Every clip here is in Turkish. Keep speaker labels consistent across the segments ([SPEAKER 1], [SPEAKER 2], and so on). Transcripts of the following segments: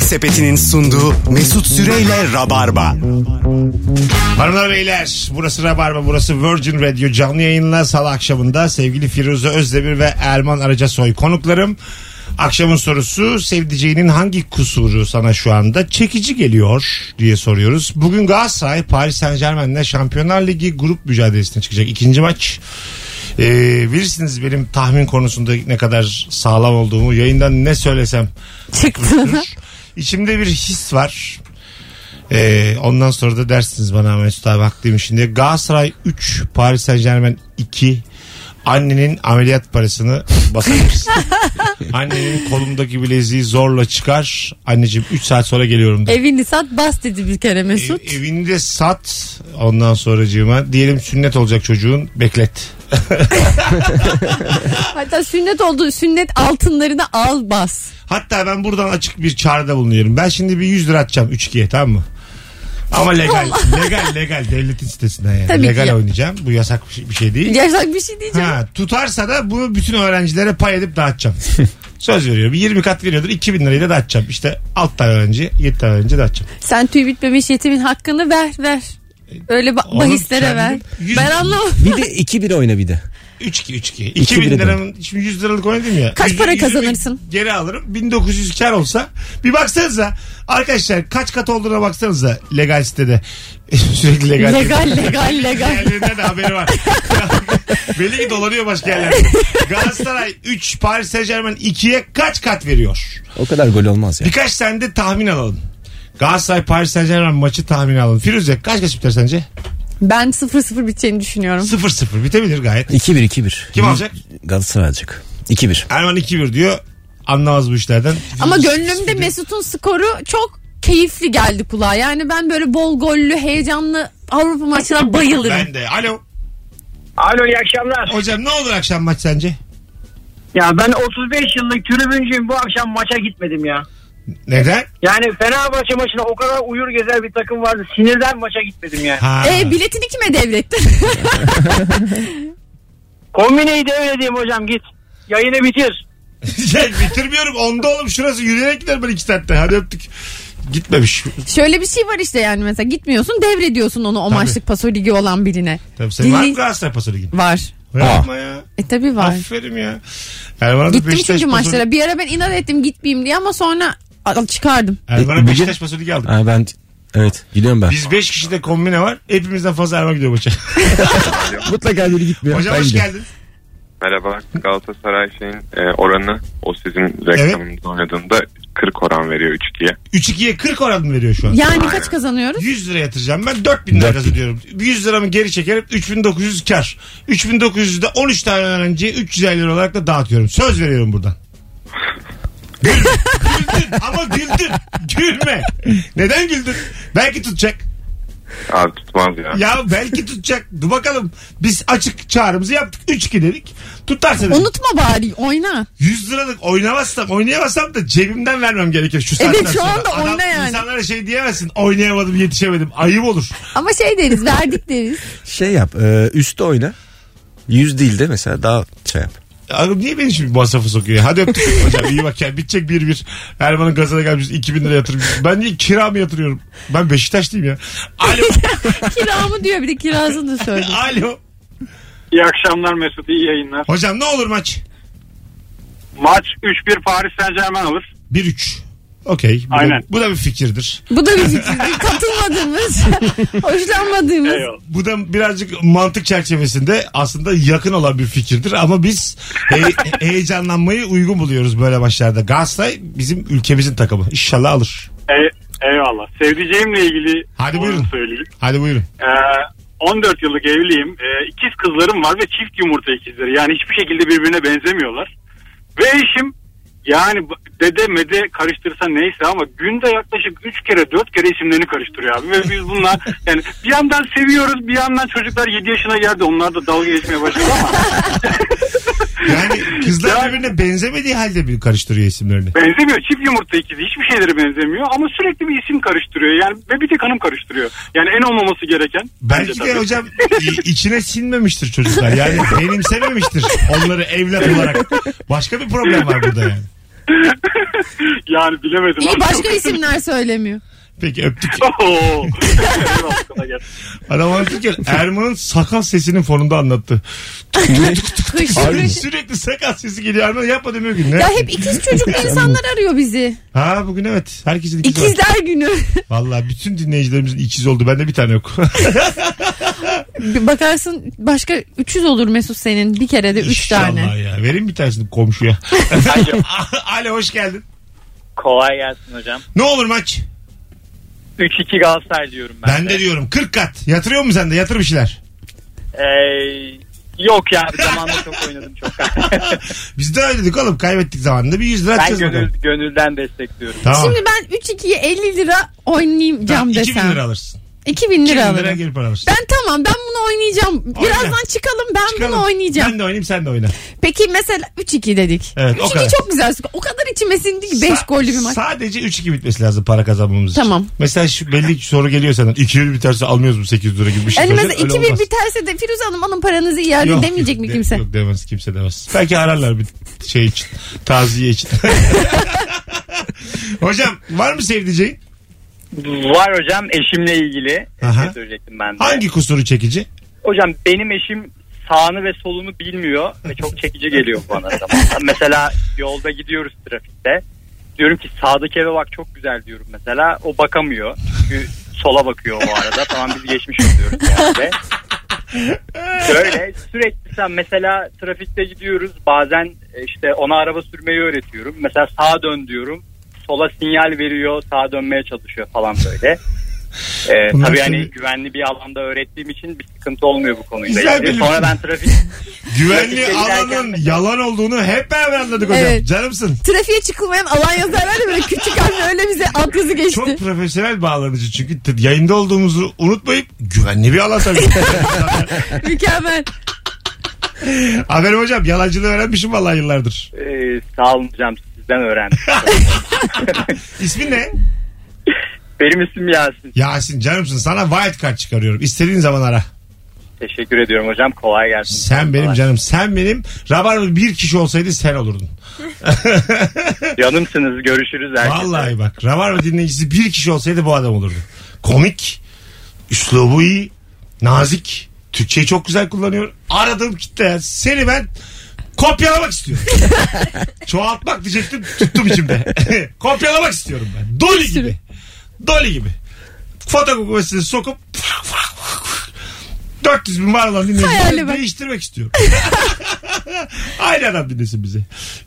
[SPEAKER 1] Sepeti'nin sunduğu Mesut Süreyle Rabarba.
[SPEAKER 2] Hanımlar beyler burası Rabarba burası Virgin Radio canlı yayınla salı akşamında sevgili Firuze Özdemir ve Erman Aracasoy konuklarım. Akşamın sorusu sevdiceğinin hangi kusuru sana şu anda çekici geliyor diye soruyoruz. Bugün Galatasaray Paris Saint Germain'le Şampiyonlar Ligi grup mücadelesine çıkacak ikinci maç. Ee, bilirsiniz benim tahmin konusunda ne kadar sağlam olduğumu yayından ne söylesem
[SPEAKER 3] Çıktığını.
[SPEAKER 2] İçimde bir his var. Ee, ondan sonra da dersiniz bana Mesut abi haklıymışsın diye. Galatasaray 3, Paris Saint Germain 2. Annenin ameliyat parasını basabilirsin. Annenin kolumdaki bileziği zorla çıkar. Anneciğim 3 saat sonra geliyorum. De.
[SPEAKER 3] Evini sat bas dedi bir kere Mesut.
[SPEAKER 2] Ev- evini de sat ondan sonracığıma. Diyelim sünnet olacak çocuğun beklet.
[SPEAKER 3] Hatta sünnet oldu. Sünnet altınlarını al bas.
[SPEAKER 2] Hatta ben buradan açık bir çağrıda bulunuyorum. Ben şimdi bir 100 lira atacağım 3-2'ye tamam mı? Ama legal, legal, legal devletin sitesinden yani.
[SPEAKER 3] Tabii ki
[SPEAKER 2] legal
[SPEAKER 3] yap.
[SPEAKER 2] oynayacağım. Bu yasak bir şey- bir şey değil.
[SPEAKER 3] Gerçekten bir şey diyeceğim.
[SPEAKER 2] Ha, tutarsa da bunu bütün öğrencilere pay edip dağıtacağım. Söz veriyorum. Bir 20 kat veriyordur. 2000 lirayı da dağıtacağım. İşte 6 tane öğrenci, 7 tane öğrenci dağıtacağım.
[SPEAKER 3] Sen tüy bitmemiş yetimin hakkını ver ver. Öyle ba-
[SPEAKER 2] Oğlum
[SPEAKER 3] bahislere
[SPEAKER 2] kendim
[SPEAKER 3] ver.
[SPEAKER 2] yüz-
[SPEAKER 3] Ben anlamadım.
[SPEAKER 4] Bir de 2-1 oyna bir de.
[SPEAKER 2] 3-2, 3-2.
[SPEAKER 4] İki
[SPEAKER 2] 2000
[SPEAKER 4] bire de.
[SPEAKER 2] liranın, şimdi 100 liralık oynadım ya.
[SPEAKER 3] Kaç
[SPEAKER 2] Yüz-
[SPEAKER 3] para
[SPEAKER 2] yüzünü
[SPEAKER 3] kazanırsın?
[SPEAKER 2] Geri alırım. 1900 kar olsa. Bir baksanıza. Arkadaşlar kaç kat olduğuna baksanıza. Legal sitede. Sürekli legal.
[SPEAKER 3] Legal legal legal.
[SPEAKER 2] Yerlerinden de haberi var. Belli ki dolanıyor başka yerlerde. Galatasaray 3, Paris Saint Germain 2'ye kaç kat veriyor?
[SPEAKER 4] O kadar gol olmaz ya.
[SPEAKER 2] Birkaç tane de tahmin alalım. Galatasaray Paris Saint Germain maçı tahmin alalım. Firuze kaç kaç biter sence?
[SPEAKER 3] Ben 0-0 biteceğini düşünüyorum.
[SPEAKER 2] 0-0 bitebilir gayet.
[SPEAKER 4] 2-1 2-1.
[SPEAKER 2] Kim alacak?
[SPEAKER 4] Galatasaray alacak. 2-1.
[SPEAKER 2] Erman 2-1 diyor. Anlamaz bu işlerden.
[SPEAKER 3] Ama
[SPEAKER 2] Firuze-
[SPEAKER 3] gönlümde Mesut'un skoru çok keyifli geldi kulağa. Yani ben böyle bol gollü, heyecanlı Avrupa maçına bayılırım.
[SPEAKER 2] Ben de. Alo.
[SPEAKER 5] Alo iyi akşamlar.
[SPEAKER 2] Hocam ne olur akşam maç sence?
[SPEAKER 5] Ya ben 35 yıllık tribüncüyüm bu akşam maça gitmedim ya.
[SPEAKER 2] Neden?
[SPEAKER 5] Yani Fenerbahçe maçına o kadar uyur gezer bir takım vardı. Sinirden maça gitmedim yani.
[SPEAKER 2] Ha.
[SPEAKER 3] E biletini kime devrettin?
[SPEAKER 5] Kombineyi de öyle diyeyim hocam git. Yayını bitir.
[SPEAKER 2] Ya bitirmiyorum. Onda oğlum şurası yürüyerek gider ben iki saatte. Hadi öptük. Gitmemiş.
[SPEAKER 3] Şöyle bir şey var işte yani mesela gitmiyorsun devrediyorsun onu o
[SPEAKER 2] Tabii.
[SPEAKER 3] maçlık paso ligi olan birine.
[SPEAKER 2] Tabii senin var mı
[SPEAKER 3] Dinleyin-
[SPEAKER 2] Galatasaray pasörü gibi?
[SPEAKER 3] Var.
[SPEAKER 2] Yapma ya.
[SPEAKER 3] E tabi var.
[SPEAKER 2] Aferin ya. Erman'a da
[SPEAKER 3] Gittim
[SPEAKER 2] Beşiktaş
[SPEAKER 3] çünkü
[SPEAKER 2] pasörü-
[SPEAKER 3] maçlara. Bir ara ben inat ettim gitmeyeyim diye ama sonra al- çıkardım.
[SPEAKER 2] Erman'a
[SPEAKER 4] Bugün-
[SPEAKER 2] Beşiktaş pasörü geldi.
[SPEAKER 4] Ha, ben evet gidiyorum ben.
[SPEAKER 2] Biz 5 kişide kombine var. Hepimizden fazla Erman gidiyor maça.
[SPEAKER 4] Mutlaka biri gitmiyor.
[SPEAKER 2] Hocam
[SPEAKER 4] Ben
[SPEAKER 2] hoş
[SPEAKER 4] gidiyorum.
[SPEAKER 2] geldin.
[SPEAKER 6] Merhaba. Galatasaray şeyin e, oranı o sizin reklamınızda oynadığında 40 oran veriyor 3-2'ye.
[SPEAKER 2] 3-2'ye 40 oran mı veriyor şu an?
[SPEAKER 3] Yani kaç kazanıyoruz?
[SPEAKER 2] 100 lira yatıracağım ben 4000 lira
[SPEAKER 4] 4000.
[SPEAKER 2] kazanıyorum. 100 liramı geri çekerim 3900 kar. 3900'de 13 tane öğrenciye 350 lira olarak da dağıtıyorum. Söz veriyorum buradan. Güldün. güldün ama güldün. Gülme. Neden güldün? Belki tutacak.
[SPEAKER 6] Abi tutmaz ya.
[SPEAKER 2] Ya belki tutacak. Dur bakalım. Biz açık çağrımızı yaptık. 3-2 dedik. Tutarsa dedik.
[SPEAKER 3] Unutma bari oyna.
[SPEAKER 2] 100 liralık oynamazsam oynayamazsam da cebimden vermem gerekir şu saatten
[SPEAKER 3] Evet, şu
[SPEAKER 2] sonra.
[SPEAKER 3] anda
[SPEAKER 2] Adam-
[SPEAKER 3] oyna yani.
[SPEAKER 2] İnsanlara şey diyemezsin oynayamadım yetişemedim ayıp olur.
[SPEAKER 3] Ama şey deriz verdik deriz.
[SPEAKER 4] Şey yap e, üstte oyna. Yüz değil de mesela daha şey yap.
[SPEAKER 2] Abi niye beni şimdi masrafa sokuyor? ya? Hadi öptük hocam iyi bak ya bitecek bir bir. Erman'ın gazına gelmiş 2000 lira yatırmış. Ben niye kira mı yatırıyorum? Ben Beşiktaşlıyım ya. Alo.
[SPEAKER 3] Kiramı diyor bir de kirasını da söyledi.
[SPEAKER 2] Alo.
[SPEAKER 7] İyi akşamlar Mesut, iyi yayınlar.
[SPEAKER 2] Hocam ne olur maç?
[SPEAKER 7] Maç 3-1 Paris Saint Germain alır.
[SPEAKER 2] 1-3. Okey. Bu, da-
[SPEAKER 7] Aynen.
[SPEAKER 2] bu da bir fikirdir.
[SPEAKER 3] Bu da bir fikir. Katılmadığımız, hoşlanmadığımız.
[SPEAKER 2] Bu da birazcık mantık çerçevesinde aslında yakın olan bir fikirdir ama biz he- heyecanlanmayı uygun buluyoruz böyle maçlarda. Galatasaray bizim ülkemizin takımı. İnşallah alır.
[SPEAKER 7] Ey- E, eyvallah. Sevdiceğimle ilgili
[SPEAKER 2] Hadi
[SPEAKER 7] onu
[SPEAKER 2] buyurun.
[SPEAKER 7] söyleyeyim.
[SPEAKER 2] Hadi buyurun.
[SPEAKER 7] Ee, 14 yıllık evliyim. Ee, ikiz kızlarım var ve çift yumurta ikizleri. Yani hiçbir şekilde birbirine benzemiyorlar. Ve eşim yani b- dede mede karıştırsa neyse ama günde yaklaşık 3 kere 4 kere isimlerini karıştırıyor abi. Ve biz bunlar yani bir yandan seviyoruz bir yandan çocuklar 7 yaşına geldi onlar da dalga geçmeye başladı ama
[SPEAKER 2] Yani kızlar
[SPEAKER 7] Ya-
[SPEAKER 2] birbirine benzemediği halde bir karıştırıyor isimlerini.
[SPEAKER 7] Benzemiyor. Çift yumurta ikizi. Hiçbir şeylere benzemiyor. Ama sürekli bir isim karıştırıyor. Yani ve bir tek hanım karıştırıyor. Yani en olmaması gereken.
[SPEAKER 2] Belki de
[SPEAKER 7] tabii.
[SPEAKER 2] hocam i- içine sinmemiştir çocuklar. Yani benimsememiştir onları evlat olarak. Başka bir problem var burada yani.
[SPEAKER 7] yani bilemedim.
[SPEAKER 3] İyi
[SPEAKER 7] abi.
[SPEAKER 3] başka isimler söylemiyor.
[SPEAKER 2] Peki öptük.
[SPEAKER 7] Oo. Eyvah, kolay gelsin.
[SPEAKER 2] Adam anlatırken Erman'ın sakal sesinin fonunda anlattı.
[SPEAKER 3] Hışır hışır.
[SPEAKER 2] Sürekli sakal sesi geliyor. Erman yapma demiyor ki. Ne?
[SPEAKER 3] Ya hep ikiz çocuklu insanlar arıyor bizi.
[SPEAKER 2] Ha bugün evet. Herkesin ikizi var.
[SPEAKER 3] İkizler günü.
[SPEAKER 2] Valla bütün dinleyicilerimizin ikiz oldu. Bende bir tane yok.
[SPEAKER 3] Bir Bakarsın başka 300 olur Mesut senin bir kere de 3 tane.
[SPEAKER 2] İnşallah ya. Verin bir tanesini komşuya.
[SPEAKER 8] Alo.
[SPEAKER 2] Alo hoş geldin.
[SPEAKER 8] Kolay gelsin hocam.
[SPEAKER 2] Ne olur maç?
[SPEAKER 8] 3-2 Galatasaray diyorum ben,
[SPEAKER 2] Ben de diyorum 40 kat. Yatırıyor mu sen de? Yatır bir şeyler.
[SPEAKER 8] Ee, yok ya bir zamanda çok oynadım çok.
[SPEAKER 2] Biz de öyle dedik oğlum. Kaybettik zamanında bir 100 lira
[SPEAKER 8] ben
[SPEAKER 2] atacağız
[SPEAKER 8] gönül,
[SPEAKER 2] bakalım.
[SPEAKER 8] gönülden destekliyorum.
[SPEAKER 2] Tamam.
[SPEAKER 3] Şimdi ben 3-2'ye 50 lira oynayayım
[SPEAKER 2] Tamam,
[SPEAKER 3] cam
[SPEAKER 2] 2000 lira
[SPEAKER 3] desem.
[SPEAKER 2] alırsın.
[SPEAKER 3] 2000
[SPEAKER 2] 2000
[SPEAKER 3] lira
[SPEAKER 2] lira
[SPEAKER 3] alırım.
[SPEAKER 2] geri para alırsın.
[SPEAKER 3] Ben tamam ben bunu oynayacağım. Birazdan çıkalım ben
[SPEAKER 2] Çıkalım.
[SPEAKER 3] bunu oynayacağım.
[SPEAKER 2] Ben de oynayayım sen de oyna.
[SPEAKER 3] Peki mesela 3-2 dedik.
[SPEAKER 2] Evet, o
[SPEAKER 3] 3-2
[SPEAKER 2] kadar.
[SPEAKER 3] çok güzel. skor. O kadar içime sindi ki 5
[SPEAKER 2] Sa-
[SPEAKER 3] gollü bir maç.
[SPEAKER 2] Sadece 3-2 bitmesi lazım para kazanmamız için.
[SPEAKER 3] Tamam.
[SPEAKER 2] Mesela şu belli ki soru geliyor senden. 2-1 biterse almıyoruz bu 800 lira gibi bir şey.
[SPEAKER 3] Yani mesela
[SPEAKER 2] söyleyeceksin.
[SPEAKER 3] 2-1
[SPEAKER 2] Öyle olmaz.
[SPEAKER 3] biterse de Firuze Hanım alın paranızı iade
[SPEAKER 2] Yok,
[SPEAKER 3] demeyecek mi
[SPEAKER 2] de-
[SPEAKER 3] kimse?
[SPEAKER 2] Yok demez kimse demez. Belki ararlar bir şey için. Taziye için. Hocam var mı sevdiceğin?
[SPEAKER 8] Var hocam eşimle ilgili
[SPEAKER 2] Aha.
[SPEAKER 8] ne söyleyecektim ben de.
[SPEAKER 2] Hangi kusuru çekici?
[SPEAKER 8] Hocam benim eşim sağını ve solunu bilmiyor ve çok çekici geliyor bana zamanla. mesela yolda gidiyoruz trafikte. Diyorum ki sağdaki eve bak çok güzel diyorum mesela. O bakamıyor. Çünkü sola bakıyor o arada. Tamam biz geçmiş oluyoruz yani. Böyle sürekli sen mesela trafikte gidiyoruz. Bazen e, işte ona araba sürmeyi öğretiyorum. Mesela sağa dön diyorum. Sola sinyal veriyor. Sağa dönmeye çalışıyor falan böyle. Ee,
[SPEAKER 2] Bunlar
[SPEAKER 8] tabii hani
[SPEAKER 2] tabii-
[SPEAKER 8] güvenli bir alanda öğrettiğim için bir sıkıntı olmuyor bu konuyla.
[SPEAKER 2] Güzel
[SPEAKER 8] ilgili.
[SPEAKER 2] bilirsin.
[SPEAKER 8] Sonra ben trafik
[SPEAKER 2] Güvenli
[SPEAKER 8] Trafikte giderken-
[SPEAKER 2] alanın yalan olduğunu hep beraber anladık hocam.
[SPEAKER 3] Evet.
[SPEAKER 2] Canımsın.
[SPEAKER 3] Trafiğe çıkılmayan alan yazarlar da böyle küçük harfle öyle bize alt yazı geçti.
[SPEAKER 2] Çok profesyonel bağlanıcı çünkü t- yayında olduğumuzu unutmayıp güvenli bir alan tabii.
[SPEAKER 3] Mükemmel.
[SPEAKER 2] Aferin hocam yalancılığı öğrenmişim vallahi yıllardır.
[SPEAKER 8] Ee, sağ olun hocam sizden öğrendim.
[SPEAKER 2] İsmin ne?
[SPEAKER 8] Benim isim Yasin.
[SPEAKER 2] Yasin canımsın sana wild card çıkarıyorum. İstediğin zaman ara.
[SPEAKER 8] Teşekkür ediyorum hocam. Kolay gelsin.
[SPEAKER 2] Sen benim
[SPEAKER 8] Kolay.
[SPEAKER 2] canım sen benim. Rabarba bir kişi olsaydı sen olurdun.
[SPEAKER 8] Canımsınız. Görüşürüz herkese.
[SPEAKER 2] Vallahi bak Rabarba dinleyicisi bir kişi olsaydı bu adam olurdu. Komik, üslubu iyi, nazik, Türkçeyi çok güzel kullanıyor. Aradığım kitle ya. seni ben kopyalamak istiyorum. Çoğaltmak diyecektim tuttum içimde. kopyalamak istiyorum ben. Dolly gibi. Dolly gibi. Fotokopyasını sokup 400 bin var olan
[SPEAKER 3] Hayali
[SPEAKER 2] dinleyicileri
[SPEAKER 3] bak.
[SPEAKER 2] değiştirmek istiyorum. Aynı adam dinlesin bizi.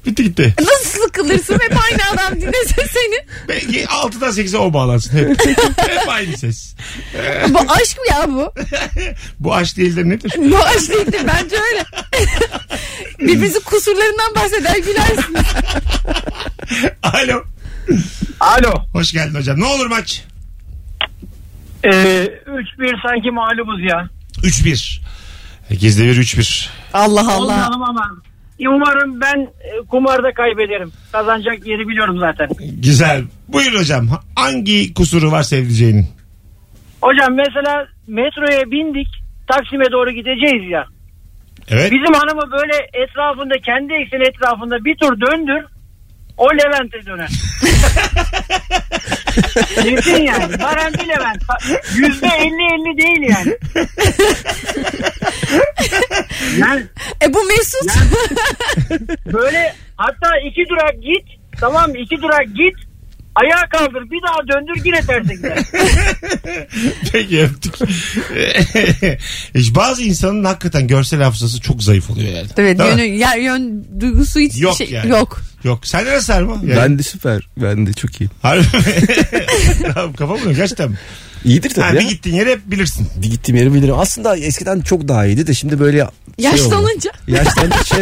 [SPEAKER 2] Bitti gitti.
[SPEAKER 3] Nasıl sıkılırsın hep aynı adam dinlese seni.
[SPEAKER 2] Belki 6'dan 8'e o bağlansın hep. hep aynı ses.
[SPEAKER 3] Bu aşk mı ya bu?
[SPEAKER 2] Bu aşk değil de nedir?
[SPEAKER 3] Bu aşk değildir bence öyle. Birbirinizin kusurlarından bahseder gülersiniz.
[SPEAKER 2] Alo.
[SPEAKER 5] Alo.
[SPEAKER 2] Hoş geldin hocam. Ne olur maç?
[SPEAKER 5] Ee, 3-1 sanki mağlubuz ya.
[SPEAKER 2] 3-1. Gizli bir 3-1.
[SPEAKER 3] Allah Allah.
[SPEAKER 5] Olmayalım ama. Umarım ben e, kumarda kaybederim. Kazanacak yeri biliyorum zaten.
[SPEAKER 2] Güzel. Buyur hocam. Hangi kusuru var sevdiceğinin?
[SPEAKER 5] Hocam mesela metroya bindik. Taksim'e doğru gideceğiz ya.
[SPEAKER 2] Evet.
[SPEAKER 5] Bizim hanımı böyle etrafında kendi ekseni etrafında bir tur döndür. O Levent'e döner. Kesin yani. Garanti Levent. Yüzde elli elli değil yani. yani
[SPEAKER 3] E bu Mesut.
[SPEAKER 5] böyle hatta iki durak git. Tamam mı? iki durak git. Ayağa kaldır bir daha döndür yine terse gider.
[SPEAKER 2] Peki öptük. İşte Bazı insanın hakikaten görsel hafızası çok zayıf oluyor yani.
[SPEAKER 3] evet
[SPEAKER 2] Değil mi?
[SPEAKER 3] yönü, yer, yön duygusu hiç
[SPEAKER 2] Yok
[SPEAKER 3] şey,
[SPEAKER 2] yani.
[SPEAKER 3] yok.
[SPEAKER 2] Yok. Sen neresi Erman? Yani-
[SPEAKER 4] Ben de süper. Ben de çok iyi.
[SPEAKER 2] Harbi mi? Tamam, Kafa mı? Gerçekten mi?
[SPEAKER 4] İyidir tabii
[SPEAKER 2] Ha,
[SPEAKER 4] ya.
[SPEAKER 2] bir gittiğin yeri hep bilirsin.
[SPEAKER 4] Bir gittiğim yeri bilirim. Aslında eskiden çok daha iyiydi de şimdi böyle şey oldu.
[SPEAKER 3] Yaşlanınca.
[SPEAKER 4] Yaşlandıkça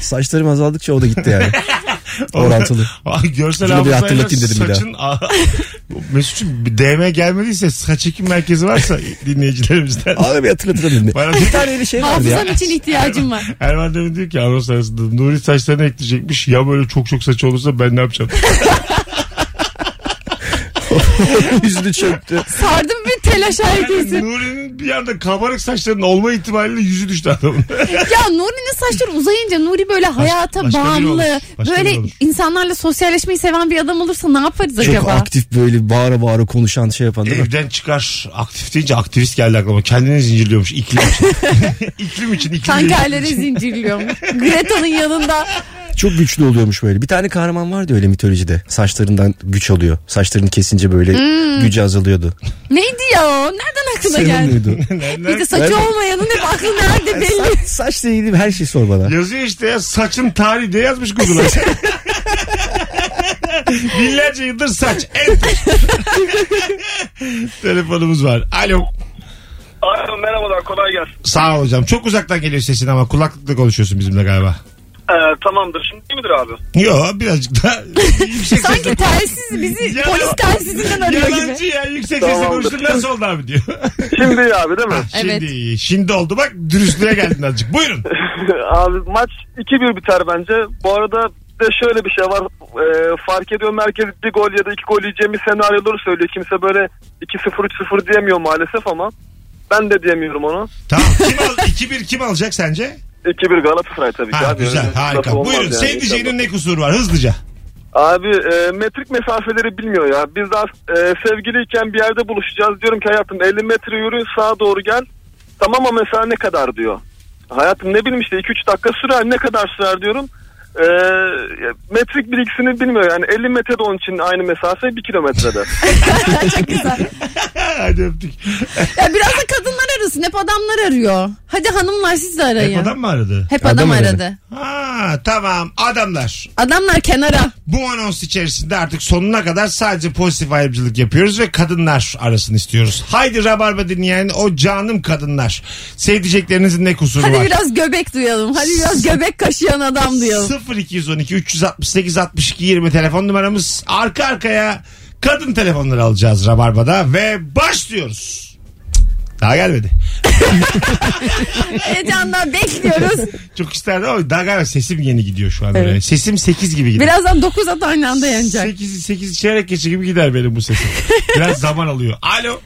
[SPEAKER 4] saçlarım azaldıkça o da gitti yani. Orantılı.
[SPEAKER 2] Ay, Görsel
[SPEAKER 4] Şunu bir
[SPEAKER 2] hafızayla
[SPEAKER 4] hatırlatayım dedim bir daha.
[SPEAKER 2] saçın... Mesut'cum bir DM gelmediyse saç ekim merkezi varsa dinleyicilerimizden.
[SPEAKER 4] Abi bir hatırlatırım
[SPEAKER 2] Bana
[SPEAKER 4] beni. Bir tane öyle şey vardı ya.
[SPEAKER 3] Hafızam için ihtiyacım var.
[SPEAKER 2] Erman Demin diyor ki anons arasında Nuri saçlarını ekleyecekmiş. Ya böyle çok çok saç olursa ben ne yapacağım?
[SPEAKER 4] Yüzünü çöktü.
[SPEAKER 3] Sardım bir telaş
[SPEAKER 2] Yani
[SPEAKER 3] herkesi.
[SPEAKER 2] Nuri'nin bir anda kabarık saçların olma ihtimaliyle yüzü düştü adamın.
[SPEAKER 3] Ya Nuri'nin saçları uzayınca Nuri böyle hayata
[SPEAKER 2] başka biri
[SPEAKER 3] bağımlı.
[SPEAKER 2] olur. Başka biri
[SPEAKER 3] böyle
[SPEAKER 2] olur.
[SPEAKER 3] insanlarla sosyalleşmeyi seven bir adam olursa ne yaparız acaba?
[SPEAKER 4] Çok aktif böyle bağıra bağıra konuşan şey yapan değil mi?
[SPEAKER 2] Evden çıkar aktif deyince aktivist geldi aklıma. Kendini zincirliyormuş iklim için. iklim için. Iklim
[SPEAKER 3] Tankerlere zincirliyormuş. Greta'nın yanında.
[SPEAKER 4] Çok güçlü oluyormuş böyle. Bir tane kahraman vardı öyle mitolojide. Saçlarından güç alıyor. Saçlarını kesince böyle gücü azalıyordu.
[SPEAKER 3] Neydi ya o? Nereden aklına
[SPEAKER 4] Senin
[SPEAKER 3] geldi?
[SPEAKER 4] muydu?
[SPEAKER 3] Bir de saçı olmayanın hep aklı nerede belli.
[SPEAKER 4] Sa- saçla ilgili her şeyi sor bana.
[SPEAKER 2] Yazıyor işte ya saçın tarihi diye yazmış Google'a. Binlerce yıldır saç. Enter. Telefonumuz var. Alo.
[SPEAKER 9] Alo merhabalar kolay gelsin.
[SPEAKER 2] Sağ ol hocam. Çok uzaktan geliyor sesin ama kulaklıkla konuşuyorsun bizimle galiba.
[SPEAKER 9] Ee, tamamdır şimdi iyi midir abi?
[SPEAKER 2] Yo birazcık daha yüksek sesle.
[SPEAKER 3] Sanki telsiz bizi
[SPEAKER 2] Ya-
[SPEAKER 3] polis telsizinden arıyor
[SPEAKER 2] Yalancı
[SPEAKER 3] gibi.
[SPEAKER 2] ya yüksek sesle
[SPEAKER 9] Tamamdır.
[SPEAKER 2] konuştun nasıl oldu abi diyor.
[SPEAKER 9] Şimdi iyi abi değil mi?
[SPEAKER 3] Evet.
[SPEAKER 2] Şimdi, iyi. şimdi oldu bak dürüstlüğe geldin azıcık. Buyurun.
[SPEAKER 9] abi maç 2-1 biter bence. Bu arada bir de şöyle bir şey var. Ee, fark ediyorum herkes bir gol ya da iki gol yiyeceğimiz senaryoları söylüyor. Kimse böyle 2-0 3-0 diyemiyor maalesef ama ben de diyemiyorum onu.
[SPEAKER 2] Tamam kim al 2-1 kim alacak sence?
[SPEAKER 9] 2-1 Galatasaray tabii ki.
[SPEAKER 2] Ha,
[SPEAKER 9] abi.
[SPEAKER 2] güzel
[SPEAKER 9] Nasıl
[SPEAKER 2] harika.
[SPEAKER 9] olmaz
[SPEAKER 2] Buyurun
[SPEAKER 9] yani inşallah.
[SPEAKER 2] sevdiceğinin ne kusuru var hızlıca.
[SPEAKER 9] Abi e, metrik mesafeleri bilmiyor ya. Biz daha e, sevgiliyken bir yerde buluşacağız. Diyorum ki hayatım 50 metre yürü sağa doğru gel. Tamam ama mesela ne kadar diyor. Hayatım ne bileyim işte 2-3 dakika sürer ne kadar sürer diyorum. E, metrik bilgisini bilmiyor yani 50 metre de onun için aynı mesafe 1 kilometrede.
[SPEAKER 3] Çok güzel.
[SPEAKER 2] Hadi öptük.
[SPEAKER 3] Ya biraz da kadınlar arasın. Hep adamlar arıyor. Hadi hanımlar siz de arayın.
[SPEAKER 2] Hep adam mı aradı?
[SPEAKER 3] Hep adam
[SPEAKER 4] Adam aradı.
[SPEAKER 3] aradı.
[SPEAKER 2] Ha tamam adamlar.
[SPEAKER 3] Adamlar kenara.
[SPEAKER 2] Bu anons içerisinde artık sonuna kadar sadece pozitif ayrımcılık yapıyoruz ve kadınlar arasını istiyoruz. Haydi Rabarba dinleyen o canım kadınlar. Sevdiceklerinizin ne kusuru
[SPEAKER 3] Hadi
[SPEAKER 2] var?
[SPEAKER 3] biraz göbek duyalım. Hadi biraz göbek kaşıyan adam duyalım.
[SPEAKER 2] 0212 368 62 20 telefon numaramız. Arka arkaya kadın telefonları alacağız Rabarba'da ve başlıyoruz. Daha gelmedi.
[SPEAKER 3] Heyecanla bekliyoruz.
[SPEAKER 2] Çok isterdim ama daha galiba sesim yeni gidiyor şu an oraya. Sesim 8 gibi gidiyor.
[SPEAKER 3] Birazdan 9 at aynı anda yenecek.
[SPEAKER 2] 8, 8 çeyrek geçe gibi gider benim bu sesim. Biraz zaman alıyor. Alo.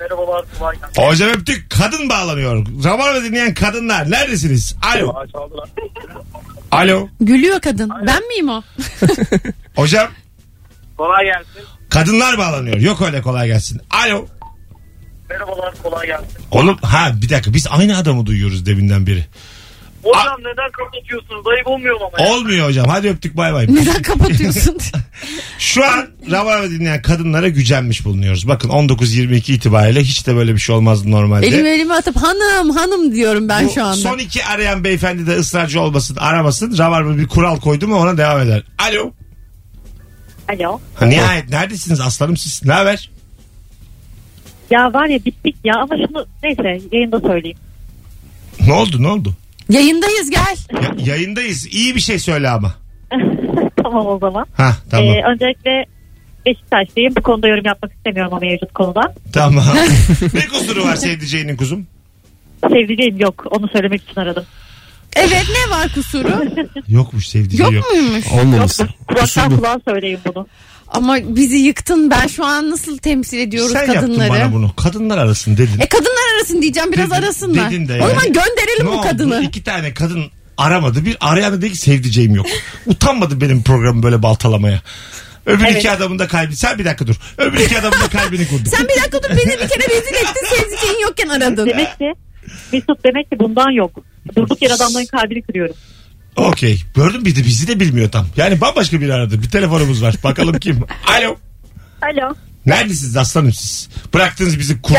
[SPEAKER 9] Merhabalar kolay
[SPEAKER 2] Hocam öptük. Kadın bağlanıyor. Rabarba dinleyen kadınlar neredesiniz? Alo. Alo.
[SPEAKER 3] Gülüyor kadın. Ben miyim o?
[SPEAKER 2] Hocam
[SPEAKER 9] Kolay gelsin.
[SPEAKER 2] kadınlar bağlanıyor. Yok öyle kolay gelsin. Alo.
[SPEAKER 9] Merhabalar kolay gelsin.
[SPEAKER 2] Oğlum ha bir dakika biz aynı adamı duyuyoruz deminden beri. Hocam
[SPEAKER 9] neden kapatıyorsunuz? Ayıp olmuyor ama.
[SPEAKER 2] Olmuyor hocam. Hadi öptük bay bay.
[SPEAKER 3] Neden kapatıyorsun?
[SPEAKER 2] Şu an Rabarba dinleyen kadınlara gücenmiş bulunuyoruz. Bakın 19-22 itibariyle hiç de böyle bir şey olmazdı normalde.
[SPEAKER 3] elimi elime atıp hanım hanım diyorum ben
[SPEAKER 2] Bu
[SPEAKER 3] şu anda.
[SPEAKER 2] Son iki arayan beyefendi de ısrarcı olmasın aramasın. Rabarba bir kural koydu mu ona devam eder. Alo.
[SPEAKER 10] Alo.
[SPEAKER 2] Ha, nihayet neredesiniz aslanım siz? Ne haber?
[SPEAKER 10] Ya var ya bittik ya ama şunu neyse yayında söyleyeyim.
[SPEAKER 2] Ne oldu ne oldu?
[SPEAKER 3] Yayındayız gel.
[SPEAKER 2] Ya- yayındayız. İyi bir şey söyle ama.
[SPEAKER 10] tamam o zaman.
[SPEAKER 2] Ha tamam.
[SPEAKER 10] Ee, öncelikle Beşiktaşlıyım. Bu konuda yorum yapmak istemiyorum ama mevcut konuda.
[SPEAKER 2] Tamam. ne kusuru var sevdiceğinin kuzum?
[SPEAKER 10] Sevdiceğim yok. Onu söylemek için aradım.
[SPEAKER 3] Evet ne var kusuru?
[SPEAKER 2] Yokmuş sevdiceği
[SPEAKER 3] Yok
[SPEAKER 2] yok.
[SPEAKER 3] muymuş?
[SPEAKER 4] Olmamış.
[SPEAKER 10] Kulaktan
[SPEAKER 4] Kusur bu.
[SPEAKER 10] kulağa söyleyin bunu.
[SPEAKER 3] Ama bizi yıktın. Ben şu an nasıl temsil ediyoruz
[SPEAKER 2] Sen yaptın
[SPEAKER 3] kadınları?
[SPEAKER 2] bana bunu. Kadınlar arasın dedin.
[SPEAKER 3] E kadınlar arasın diyeceğim biraz
[SPEAKER 2] Dedin-
[SPEAKER 3] arasınlar.
[SPEAKER 2] dedin de
[SPEAKER 3] O
[SPEAKER 2] yani.
[SPEAKER 3] zaman gönderelim
[SPEAKER 2] Ne
[SPEAKER 3] bu
[SPEAKER 2] oldu?
[SPEAKER 3] kadını.
[SPEAKER 2] İki tane kadın aramadı. Bir arayan da dedi ki sevdiceğim yok. Utanmadı benim programı böyle baltalamaya. Öbür iki adamın da kalbi. Sen bir dakika dur. Öbür iki adamın da kalbini kurdun.
[SPEAKER 3] Sen bir dakika dur beni bir kere rezil ettin. Sevdiceğin yokken aradın.
[SPEAKER 10] Demek ki Mesut demek ki bundan yok. Durduk yere adamların kalbini kırıyorum.
[SPEAKER 2] Okey. Gördün mü? bir de bizi de bilmiyor tam. Yani bambaşka biri aradı. Bir telefonumuz var. Bakalım kim? Alo.
[SPEAKER 10] Alo.
[SPEAKER 2] Neredesiniz aslanım siz? Bıraktınız bizi kurdu.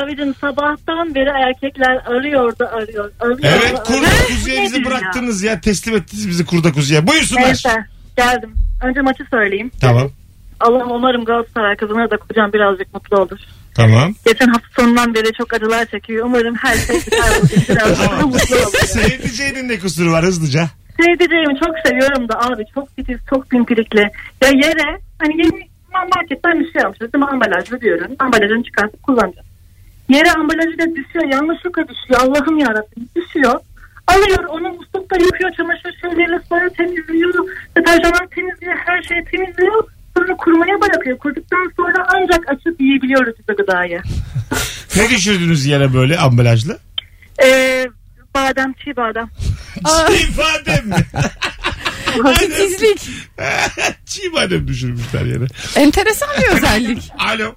[SPEAKER 10] abicim sabahtan beri erkekler arıyordu arıyor. arıyor
[SPEAKER 2] Evet kurda kuzuya bizi bıraktınız ya. Teslim ettiniz bizi kurda kuzuya. Buyursunlar.
[SPEAKER 10] geldim. Önce maçı söyleyeyim.
[SPEAKER 2] Tamam.
[SPEAKER 10] Allah'ım umarım Galatasaray kazanır da kocam birazcık mutlu olur.
[SPEAKER 2] Tamam.
[SPEAKER 10] Geçen hafta sonundan beri çok acılar çekiyor. Umarım her şey biter bu işin. Birazcık daha mutlu olur.
[SPEAKER 2] Sevdiceğinin ne kusuru var hızlıca?
[SPEAKER 10] Sevdiceğimi çok seviyorum da abi çok titiz, çok pimpirikli. Ya yere hani yeni marketten bir şey almışız değil mi? Ambalajlı bir ürün. Ambalajını çıkartıp kullanacağız. Yere ambalajı da düşüyor. Yanlışlıkla düşüyor. Allah'ım yarabbim düşüyor. Alıyor onu muslukta yıkıyor. Çamaşır şeyleriyle sonra temizliyor. Deterjanlar temizliyor. Her şeyi temizliyor. Sonra kurumaya bırakıyor. Kurduktan sonra ancak açıp yiyebiliyoruz biz o gıdayı.
[SPEAKER 2] Ne düşürdünüz yere böyle ambalajlı?
[SPEAKER 10] Ee, badem, çiğ badem.
[SPEAKER 2] Çiğ badem mi?
[SPEAKER 3] Titizlik.
[SPEAKER 2] Çiğ badem düşürmüşler yere.
[SPEAKER 3] Enteresan bir özellik.
[SPEAKER 2] Alo.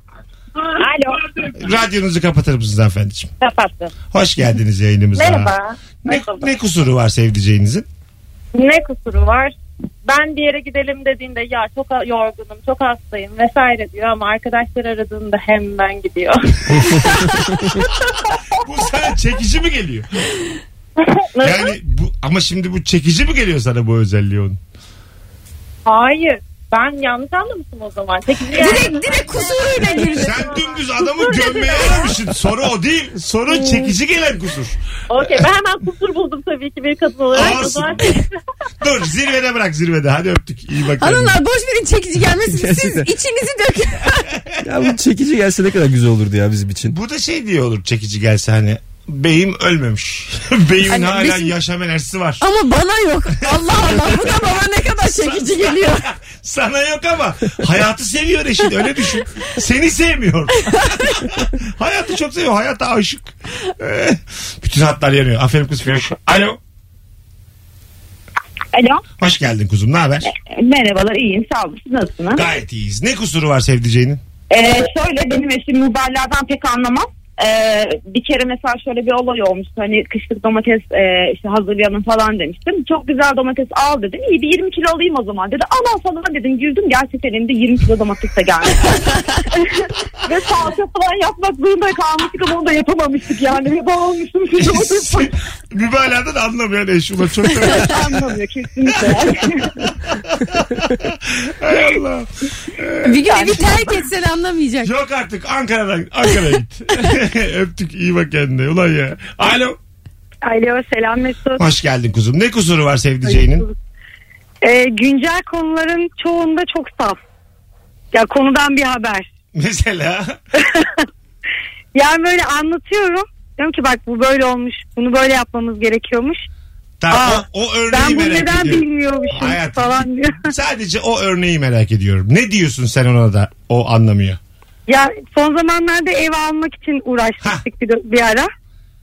[SPEAKER 11] Alo.
[SPEAKER 2] Radyonuzu kapatır mısınız hanımefendiciğim?
[SPEAKER 11] Kapattım.
[SPEAKER 2] Hoş geldiniz yayınımıza.
[SPEAKER 11] Merhaba.
[SPEAKER 2] Ne, ne kusuru var sevdiceğinizin?
[SPEAKER 11] Ne kusuru var? Ben bir yere gidelim dediğinde ya çok yorgunum, çok hastayım vesaire diyor ama arkadaşlar aradığında hemen gidiyor.
[SPEAKER 2] Bu sana çekici mi geliyor? yani bu, ama şimdi bu çekici mi geliyor sana bu özelliği onun?
[SPEAKER 11] Hayır. Ben yanlış anlamışım o zaman. Çekici yani-
[SPEAKER 3] Direkt- direkt kusuruyla girdi.
[SPEAKER 2] Sen dümdüz adamı gömmeye aramışsın. Soru o değil. Soru çekici gelen kusur.
[SPEAKER 11] Okey ben hemen kusur buldum tabii ki bir kadın olarak. O
[SPEAKER 2] Olsun.
[SPEAKER 11] zaman
[SPEAKER 2] Dur zirvede bırak zirvede. Hadi öptük. İyi bak. kendine.
[SPEAKER 3] Hanımlar boş verin çekici gelmesin. Siz
[SPEAKER 4] Gerçekten.
[SPEAKER 3] içinizi dökün.
[SPEAKER 4] Ya bu çekici gelse ne kadar güzel olurdu ya bizim için.
[SPEAKER 2] Bu da şey diye olur çekici gelse hani. Beyim ölmemiş. Beyimin
[SPEAKER 3] Hani
[SPEAKER 2] hala
[SPEAKER 3] bizim-
[SPEAKER 2] yaşam enerjisi var.
[SPEAKER 3] Ama bana yok. Allah Allah bu da bana ne kadar çekici geliyor.
[SPEAKER 2] Sana yok ama hayatı seviyor eşin öyle düşün. Seni sevmiyor. hayatı çok seviyor. Hayata aşık. Ee, bütün hatlar yanıyor. Aferin kız Firuş. Alo.
[SPEAKER 12] Alo.
[SPEAKER 2] Hoş geldin kuzum. Ne haber?
[SPEAKER 12] Merhabalar iyiyim sağ olun siz nasılsınız?
[SPEAKER 2] Gayet iyiyiz. Ne kusuru var sevdiceğinin?
[SPEAKER 12] Ee, şöyle benim eşim mübalağadan pek anlamaz. Ee, bir kere mesela şöyle bir olay olmuştu hani kışlık domates e, işte hazırlayalım falan demiştim. Çok güzel domates al dedim. İyi bir 20 kilo alayım o zaman dedi. Al al falan dedim güldüm gerçekten elimde 20 kilo domates de geldi. Ve salça falan yapmak zorunda kalmıştık ama onu da yapamamıştık yani. Ve boğulmuştum şu domates
[SPEAKER 2] Mübalağadan anlamayan eş. Ulan çok
[SPEAKER 12] anlamıyor kesinlikle.
[SPEAKER 2] Hay Allah.
[SPEAKER 3] Bir gün evi terk etsen anlamayacak.
[SPEAKER 2] Yok artık Ankara'dan Ankara'ya git. Öptük iyi bak kendine. Ulan ya. Alo.
[SPEAKER 13] Alo selam Mesut.
[SPEAKER 2] Hoş geldin kuzum. Ne kusuru var sevdiceğinin?
[SPEAKER 13] Ee, güncel konuların çoğunda çok saf. Ya konudan bir haber.
[SPEAKER 2] Mesela
[SPEAKER 13] Yani böyle anlatıyorum. Diyorum ki bak bu böyle olmuş. Bunu böyle yapmamız gerekiyormuş.
[SPEAKER 2] Tamam,
[SPEAKER 13] Aa,
[SPEAKER 2] o, o örneği
[SPEAKER 13] ben bunu
[SPEAKER 2] merak
[SPEAKER 13] neden
[SPEAKER 2] ediyorum.
[SPEAKER 13] bilmiyormuşum
[SPEAKER 2] Hayatım.
[SPEAKER 13] falan diyor.
[SPEAKER 2] Sadece o örneği merak ediyorum. Ne diyorsun sen ona da o anlamıyor?
[SPEAKER 13] Ya son zamanlarda ev almak için uğraşmıştık bir, bir ara.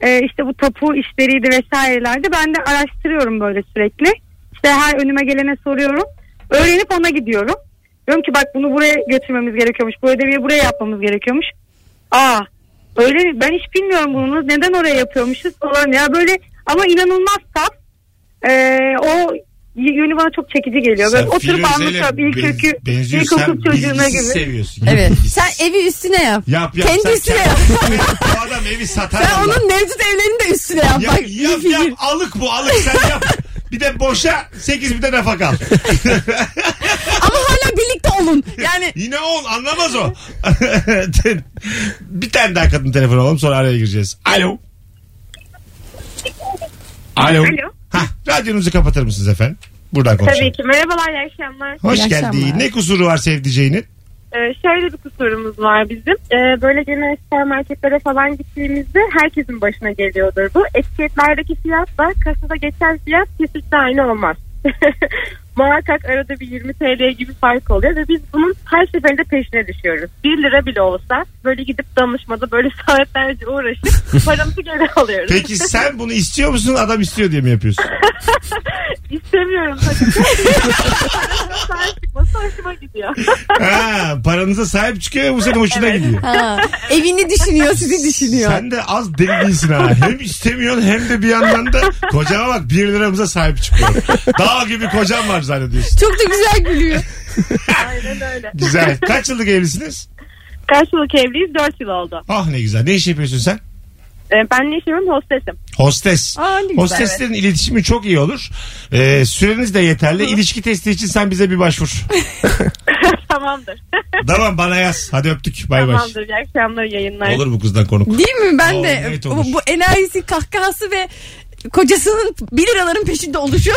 [SPEAKER 13] Ee, işte bu tapu işleriydi vesairelerdi. Ben de araştırıyorum böyle sürekli. İşte her önüme gelene soruyorum. Öğrenip ona gidiyorum. Diyorum ki bak bunu buraya götürmemiz gerekiyormuş. Bu ödevi buraya yapmamız gerekiyormuş. Aa öyle mi? Ben hiç bilmiyorum bunu. Neden oraya yapıyormuşuz falan. Ya böyle ama inanılmaz saf. Ee, o y- yönü bana çok çekici geliyor. Böyle
[SPEAKER 2] Sen
[SPEAKER 13] oturup
[SPEAKER 2] Firuze'yle
[SPEAKER 13] anlatıyorum. İlkökü,
[SPEAKER 2] benz- benziyorsun. Sen
[SPEAKER 13] ilkokul çocuğuna
[SPEAKER 2] bilgisiz
[SPEAKER 13] gibi.
[SPEAKER 2] seviyorsun.
[SPEAKER 3] Evet. Sen evi üstüne yap.
[SPEAKER 2] Yap yap.
[SPEAKER 3] Kendi
[SPEAKER 2] Sen
[SPEAKER 3] üstüne
[SPEAKER 2] kendi-
[SPEAKER 3] yap.
[SPEAKER 2] Bu adam evi satar.
[SPEAKER 3] Sen
[SPEAKER 2] Allah.
[SPEAKER 3] onun mevcut evlerini de üstüne yap.
[SPEAKER 2] Yap,
[SPEAKER 3] Bak
[SPEAKER 2] yap, yap. Alık bu alık sen yap. Bir de boşa 8 bir de nafaka al.
[SPEAKER 3] ama hala birlikte olun. Yani
[SPEAKER 2] Yine ol anlamaz o. bir tane daha kadın telefonu alalım sonra araya gireceğiz. Alo. Alo.
[SPEAKER 14] Alo.
[SPEAKER 2] Hah, radyonuzu kapatır mısınız efendim? Buradan konuşalım.
[SPEAKER 14] Tabii ki. Merhabalar, iyi akşamlar.
[SPEAKER 2] Hoş geldin. Ne kusuru var sevdiceğinin?
[SPEAKER 14] Ee, şöyle bir kusurumuz var bizim. Ee, böyle genel süpermarketlere falan gittiğimizde herkesin başına geliyordur bu. Etiketlerdeki fiyatla kasada geçen fiyat kesinlikle aynı olmaz. Muhakkak arada bir 20 TL gibi fark oluyor ve biz bunun her seferinde peşine düşüyoruz. 1 lira bile olsa böyle gidip danışmada böyle saatlerce uğraşıp paramızı geri alıyoruz.
[SPEAKER 2] Peki sen bunu istiyor musun adam istiyor diye mi yapıyorsun?
[SPEAKER 14] İstemiyorum tabii ki. Sahip çıkması hoşuma gidiyor.
[SPEAKER 2] ha, paranıza sahip çıkıyor ve bu senin hoşuna gidiyor.
[SPEAKER 3] ha, evini düşünüyor sizi düşünüyor.
[SPEAKER 2] Sen de az deli değilsin ha. Hem istemiyorsun hem de bir yandan da kocama bak 1 liramıza sahip çıkıyor. Dağ gibi kocam var zannediyorsun.
[SPEAKER 3] Çok da güzel gülüyor.
[SPEAKER 14] Aynen öyle.
[SPEAKER 2] Güzel. Kaç yıllık evlisiniz?
[SPEAKER 14] Kaç yıllık evliyiz? 4 yıl oldu.
[SPEAKER 2] Ah ne güzel. Ne iş yapıyorsun sen?
[SPEAKER 14] Ee, Ben ne işiyorum? Hostesim.
[SPEAKER 2] Hostes.
[SPEAKER 14] Aa, ne güzel,
[SPEAKER 2] Hosteslerin iletişimi çok iyi olur. Ee, süreniz de yeterli. İlişki testi için sen bize bir başvur.
[SPEAKER 14] Tamamdır.
[SPEAKER 2] tamam bana yaz. Hadi öptük. Bay bay.
[SPEAKER 14] Tamamdır. İyi akşamlar iyi yayınlar.
[SPEAKER 2] Olur bu kızdan konuk.
[SPEAKER 3] Değil mi? Ben
[SPEAKER 2] Aa,
[SPEAKER 3] de
[SPEAKER 2] evet
[SPEAKER 3] bu,
[SPEAKER 2] olur.
[SPEAKER 3] bu enerjisi, kahkahası ve kocasının 1 liraların peşinde oluşu.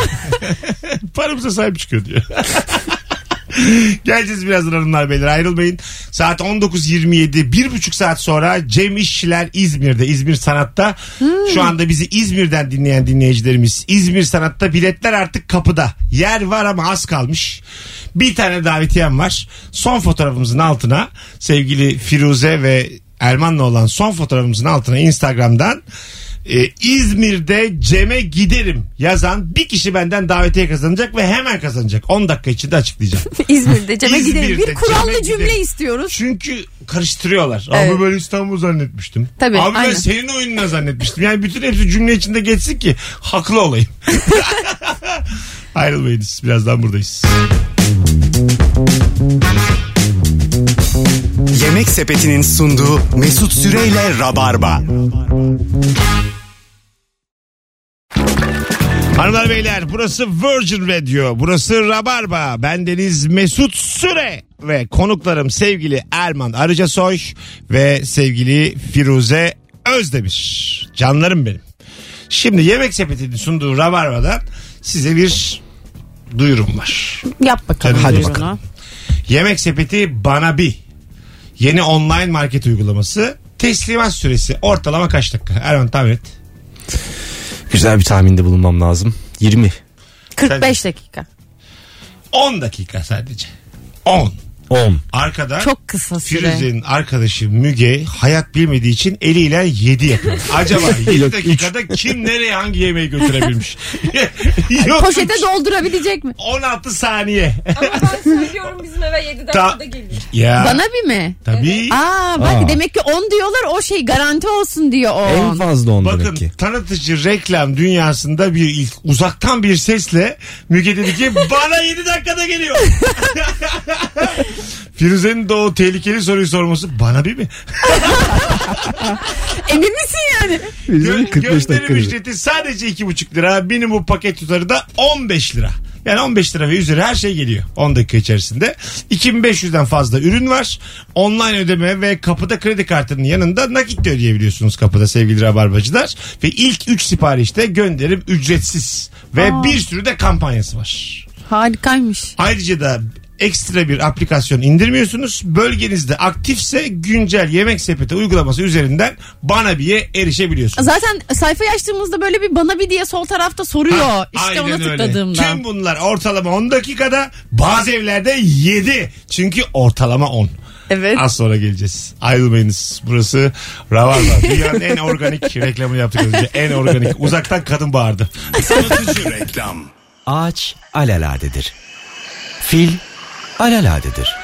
[SPEAKER 2] Paramıza sahip çıkıyor diyor. Geleceğiz birazdan hanımlar beyler ayrılmayın. Saat 19.27 bir buçuk saat sonra Cem İşçiler İzmir'de İzmir Sanat'ta. Şu anda bizi İzmir'den dinleyen dinleyicilerimiz İzmir Sanat'ta biletler artık kapıda. Yer var ama az kalmış. Bir tane davetiyem var. Son fotoğrafımızın altına sevgili Firuze ve Erman'la olan son fotoğrafımızın altına Instagram'dan e, İzmir'de Cem'e giderim yazan bir kişi benden davetiye kazanacak ve hemen kazanacak. 10 dakika içinde açıklayacağım.
[SPEAKER 3] İzmir'de Cem'e gidelim.
[SPEAKER 2] İzmir'de
[SPEAKER 3] Bir kurallı
[SPEAKER 2] Cem'e
[SPEAKER 3] cümle
[SPEAKER 2] gidelim.
[SPEAKER 3] istiyoruz.
[SPEAKER 2] Çünkü karıştırıyorlar.
[SPEAKER 3] Evet.
[SPEAKER 2] Abi ben İstanbul zannetmiştim.
[SPEAKER 3] Tabii,
[SPEAKER 2] Abi ben
[SPEAKER 3] aynen.
[SPEAKER 2] senin oyununa zannetmiştim. Yani bütün hepsi cümle içinde geçsin ki haklı olayım. Ayrılmayınız. Birazdan buradayız.
[SPEAKER 1] Yemek Sepeti'nin sunduğu Mesut Süreyle Rabarba.
[SPEAKER 2] Hanımlar beyler burası Virgin Radio. Burası Rabarba. Ben Deniz Mesut Süre ve konuklarım sevgili Erman Arıca Soy ve sevgili Firuze Özdemir. Canlarım benim. Şimdi Yemek Sepeti'nin sunduğu Rabarba'dan size bir duyurum var.
[SPEAKER 3] Yap bakalım.
[SPEAKER 2] Hadi
[SPEAKER 3] buyurun
[SPEAKER 2] bakalım.
[SPEAKER 3] ha.
[SPEAKER 2] Yemek Sepeti Bana Bir. Yeni online market uygulaması. Teslimat süresi ortalama kaç dakika? Erman tahmin et.
[SPEAKER 4] Güzel bir tahminde bulunmam lazım. 20.
[SPEAKER 3] 45 dakika.
[SPEAKER 2] 10 dakika sadece. 10.
[SPEAKER 4] 10.
[SPEAKER 2] Arkada
[SPEAKER 3] Çok kısa süre.
[SPEAKER 2] Firuze'nin arkadaşı Müge hayat bilmediği için eliyle 7 yapıyor. Acaba 7
[SPEAKER 4] Yok,
[SPEAKER 2] dakikada kim nereye hangi yemeği götürebilmiş? Yok.
[SPEAKER 3] Poşete doldurabilecek mi?
[SPEAKER 2] 16 saniye.
[SPEAKER 15] Söylüyorum bizim eve 7 dakikada
[SPEAKER 2] Ta-
[SPEAKER 15] geliyor.
[SPEAKER 2] ya.
[SPEAKER 3] Bana bir mi?
[SPEAKER 2] Tabii.
[SPEAKER 3] Aa bak
[SPEAKER 2] Aa.
[SPEAKER 3] demek ki 10 diyorlar o şey garanti olsun diyor o.
[SPEAKER 4] En fazla 10
[SPEAKER 2] Bakın
[SPEAKER 4] demek ki.
[SPEAKER 2] tanıtıcı reklam dünyasında bir ilk uzaktan bir sesle Müge dedi ki bana 7 dakikada geliyor. Firuze'nin de o tehlikeli soruyu sorması bana bir mi?
[SPEAKER 3] Emin misin yani?
[SPEAKER 2] Gö- gönderim ücreti sadece 2,5 lira. Minimum paket tutarı da 15 lira. Yani 15 lira ve üzeri her şey geliyor 10 dakika içerisinde. 2500'den fazla ürün var. Online ödeme ve kapıda kredi kartının yanında nakit de ödeyebiliyorsunuz kapıda sevgili rabarbacılar. Ve ilk 3 siparişte gönderim ücretsiz. Ve
[SPEAKER 3] Aa.
[SPEAKER 2] bir sürü de kampanyası var.
[SPEAKER 3] Harikaymış.
[SPEAKER 2] Ayrıca da ekstra bir aplikasyon indirmiyorsunuz. Bölgenizde aktifse güncel yemek sepeti uygulaması üzerinden bana biye erişebiliyorsunuz.
[SPEAKER 3] Zaten sayfa açtığımızda böyle bir bana bir diye sol tarafta soruyor.
[SPEAKER 2] Ha,
[SPEAKER 3] işte ona
[SPEAKER 2] Ah, aynen öyle.
[SPEAKER 3] tıkladığımda.
[SPEAKER 2] Tüm bunlar ortalama 10 dakikada bazı evlerde 7. Çünkü ortalama 10.
[SPEAKER 3] Evet.
[SPEAKER 2] Az sonra geleceğiz. Ayrılmayınız. Burası Ravarva. Dünyanın en organik reklamını yaptık az önce. En organik. Uzaktan kadın bağırdı. Tanıtıcı reklam.
[SPEAKER 16] Ağaç alaladedir. Fil alaladedir.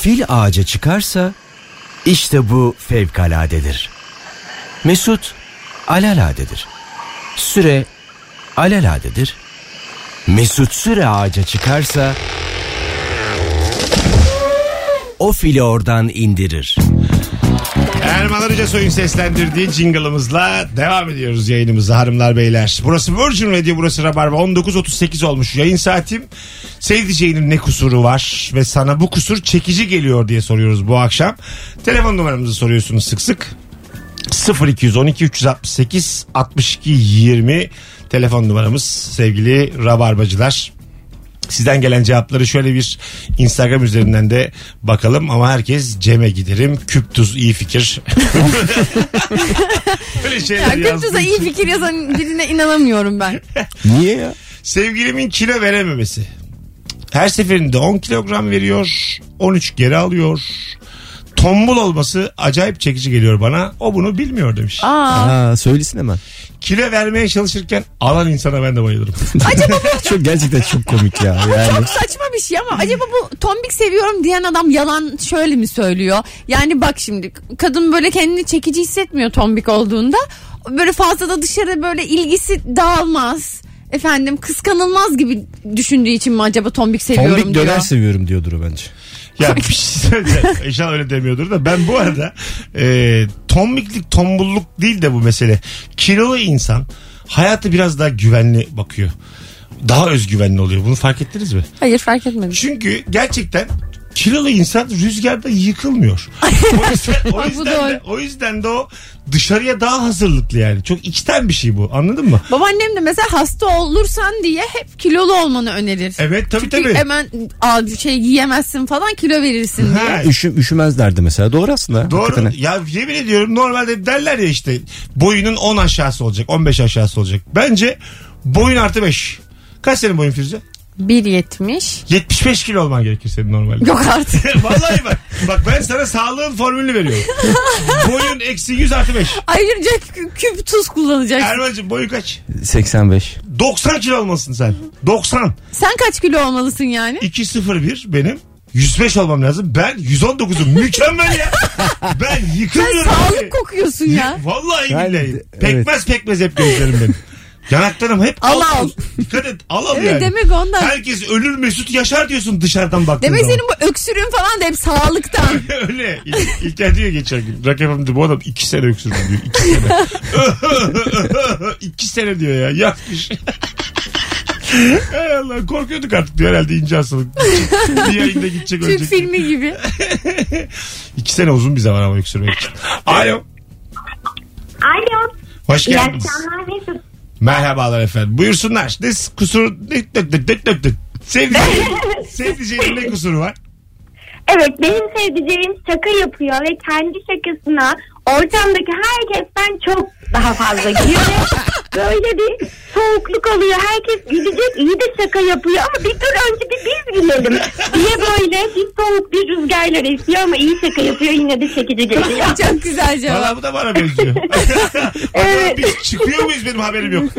[SPEAKER 16] Fil ağaca çıkarsa işte bu fevkaladedir. Mesut alaladedir. Süre alaladedir. Mesut Süre ağaca çıkarsa o fili oradan indirir.
[SPEAKER 2] Erman Arıca Soy'un seslendirdiği jingle'ımızla devam ediyoruz yayınımıza hanımlar beyler. Burası Virgin Radio burası Rabarba 19.38 olmuş yayın saatim. Sevdiceğinin ne kusuru var ve sana bu kusur çekici geliyor diye soruyoruz bu akşam. Telefon numaramızı soruyorsunuz sık sık. 0212 368 62 20 telefon numaramız sevgili Rabarbacılar. Sizden gelen cevapları şöyle bir Instagram üzerinden de bakalım ama herkes Cem'e giderim. Küptuz iyi fikir. Böyle şeyler
[SPEAKER 3] Ya
[SPEAKER 2] yazdığı
[SPEAKER 3] Kıbrıs'a iyi
[SPEAKER 2] için.
[SPEAKER 3] fikir yazan birine inanamıyorum ben.
[SPEAKER 4] Niye ya?
[SPEAKER 2] Sevgilimin kilo verememesi. Her seferinde 10 kilogram veriyor. 13 geri alıyor. Tombul olması acayip çekici geliyor bana. O bunu bilmiyor demiş.
[SPEAKER 4] Aa, söylesin hemen.
[SPEAKER 2] Kilo vermeye çalışırken alan insana ben de bayılırım.
[SPEAKER 4] çok gerçekten çok komik ya. Yani.
[SPEAKER 3] Çok saçma bir şey ama acaba bu tombik seviyorum diyen adam yalan şöyle mi söylüyor? Yani bak şimdi kadın böyle kendini çekici hissetmiyor tombik olduğunda. Böyle fazla da dışarı böyle ilgisi dağılmaz. Efendim kıskanılmaz gibi düşündüğü için mi acaba tombik seviyorum
[SPEAKER 4] Tombik
[SPEAKER 3] diyor.
[SPEAKER 4] döner seviyorum diyordur o bence.
[SPEAKER 2] Ya bir şey söyleyeceğim. İnşallah öyle demiyordur da ben bu arada e, tombiklik tombulluk değil de bu mesele. Kilolu insan hayatı biraz daha güvenli bakıyor. Daha özgüvenli oluyor. Bunu fark ettiniz mi?
[SPEAKER 3] Hayır fark etmedim.
[SPEAKER 2] Çünkü gerçekten kilolu insan rüzgarda yıkılmıyor. O yüzden, o yüzden, de, o yüzden de o dışarıya daha hazırlıklı yani. Çok içten bir şey bu anladın mı?
[SPEAKER 3] Babaannem de mesela hasta olursan diye hep kilolu olmanı önerir.
[SPEAKER 2] Evet tabii
[SPEAKER 3] Çünkü
[SPEAKER 2] tabii.
[SPEAKER 3] hemen al bir şey giyemezsin falan kilo verirsin diye.
[SPEAKER 2] Ha,
[SPEAKER 4] Üşü, üşümezlerdi mesela. Doğru aslında.
[SPEAKER 2] Doğru.
[SPEAKER 4] Hakikaten.
[SPEAKER 2] Ya yemin ediyorum normalde derler ya işte boyunun 10 aşağısı olacak, 15 aşağısı olacak. Bence boyun artı 5. Kaç senin boyun Firuze?
[SPEAKER 3] 1.70.
[SPEAKER 2] 75 kilo olman gerekir senin normalde.
[SPEAKER 3] Yok artık.
[SPEAKER 2] Vallahi bak. Bak ben sana sağlığın formülünü veriyorum. boyun eksi 100 artı 5.
[SPEAKER 3] Ayrıca kü- küp tuz kullanacaksın.
[SPEAKER 2] Erman'cığım boyun kaç?
[SPEAKER 4] 85.
[SPEAKER 2] 90 kilo olmalısın sen. 90.
[SPEAKER 3] Sen kaç kilo olmalısın yani?
[SPEAKER 2] 201 benim. 105 olmam lazım. Ben 119'um. Mükemmel ya. Ben yıkılıyorum.
[SPEAKER 3] Sen sağlık kokuyorsun ya.
[SPEAKER 2] Vallahi
[SPEAKER 4] Ben-
[SPEAKER 2] billahi.
[SPEAKER 4] evet.
[SPEAKER 2] Pekmez pekmez hep gözlerim benim. Yanaklarım hep
[SPEAKER 3] Al,
[SPEAKER 2] al.
[SPEAKER 3] al.
[SPEAKER 2] Dikkat et al al
[SPEAKER 3] Evet,
[SPEAKER 2] yani.
[SPEAKER 3] demek ondan.
[SPEAKER 2] Herkes ölür mesut yaşar diyorsun dışarıdan baktığın
[SPEAKER 3] Demek
[SPEAKER 2] zaman.
[SPEAKER 3] senin bu öksürüğün falan da hep sağlıktan.
[SPEAKER 2] Öyle. İl- İlker diyor geçen gün. Rakibim diyor bu adam iki sene öksürdü diyor. İki sene. iki sene diyor ya. Yapmış. Hay Allah korkuyorduk artık diyor herhalde ince hastalık. Bir yayında gidecek
[SPEAKER 3] Türk
[SPEAKER 2] ölecek.
[SPEAKER 3] filmi gibi.
[SPEAKER 2] İki sene uzun bir zaman ama öksürmek için. Alo.
[SPEAKER 14] Alo.
[SPEAKER 2] Hoş
[SPEAKER 14] İyi
[SPEAKER 2] geldiniz.
[SPEAKER 14] akşamlar Mesut.
[SPEAKER 2] Merhabalar efendim. Buyursunlar. Ne s- kusur... Ne, ne, ne, ne, ne, ne. Sevdiceğin, sevdiceğin ne kusuru var?
[SPEAKER 14] Evet benim sevdiceğim şaka yapıyor ve kendi şakasına ortamdaki herkesten çok daha fazla gülüyor. Böyle bir soğukluk oluyor. Herkes gülecek iyi de şaka yapıyor ama bir dur önce bir biz gülelim diye böyle bir soğuk bir rüzgarlar esiyor ama iyi şaka yapıyor yine de çekici geliyor.
[SPEAKER 3] Çok güzel cevap.
[SPEAKER 2] Valla bu da bana benziyor. Acaba biz çıkıyor muyuz benim haberim yok.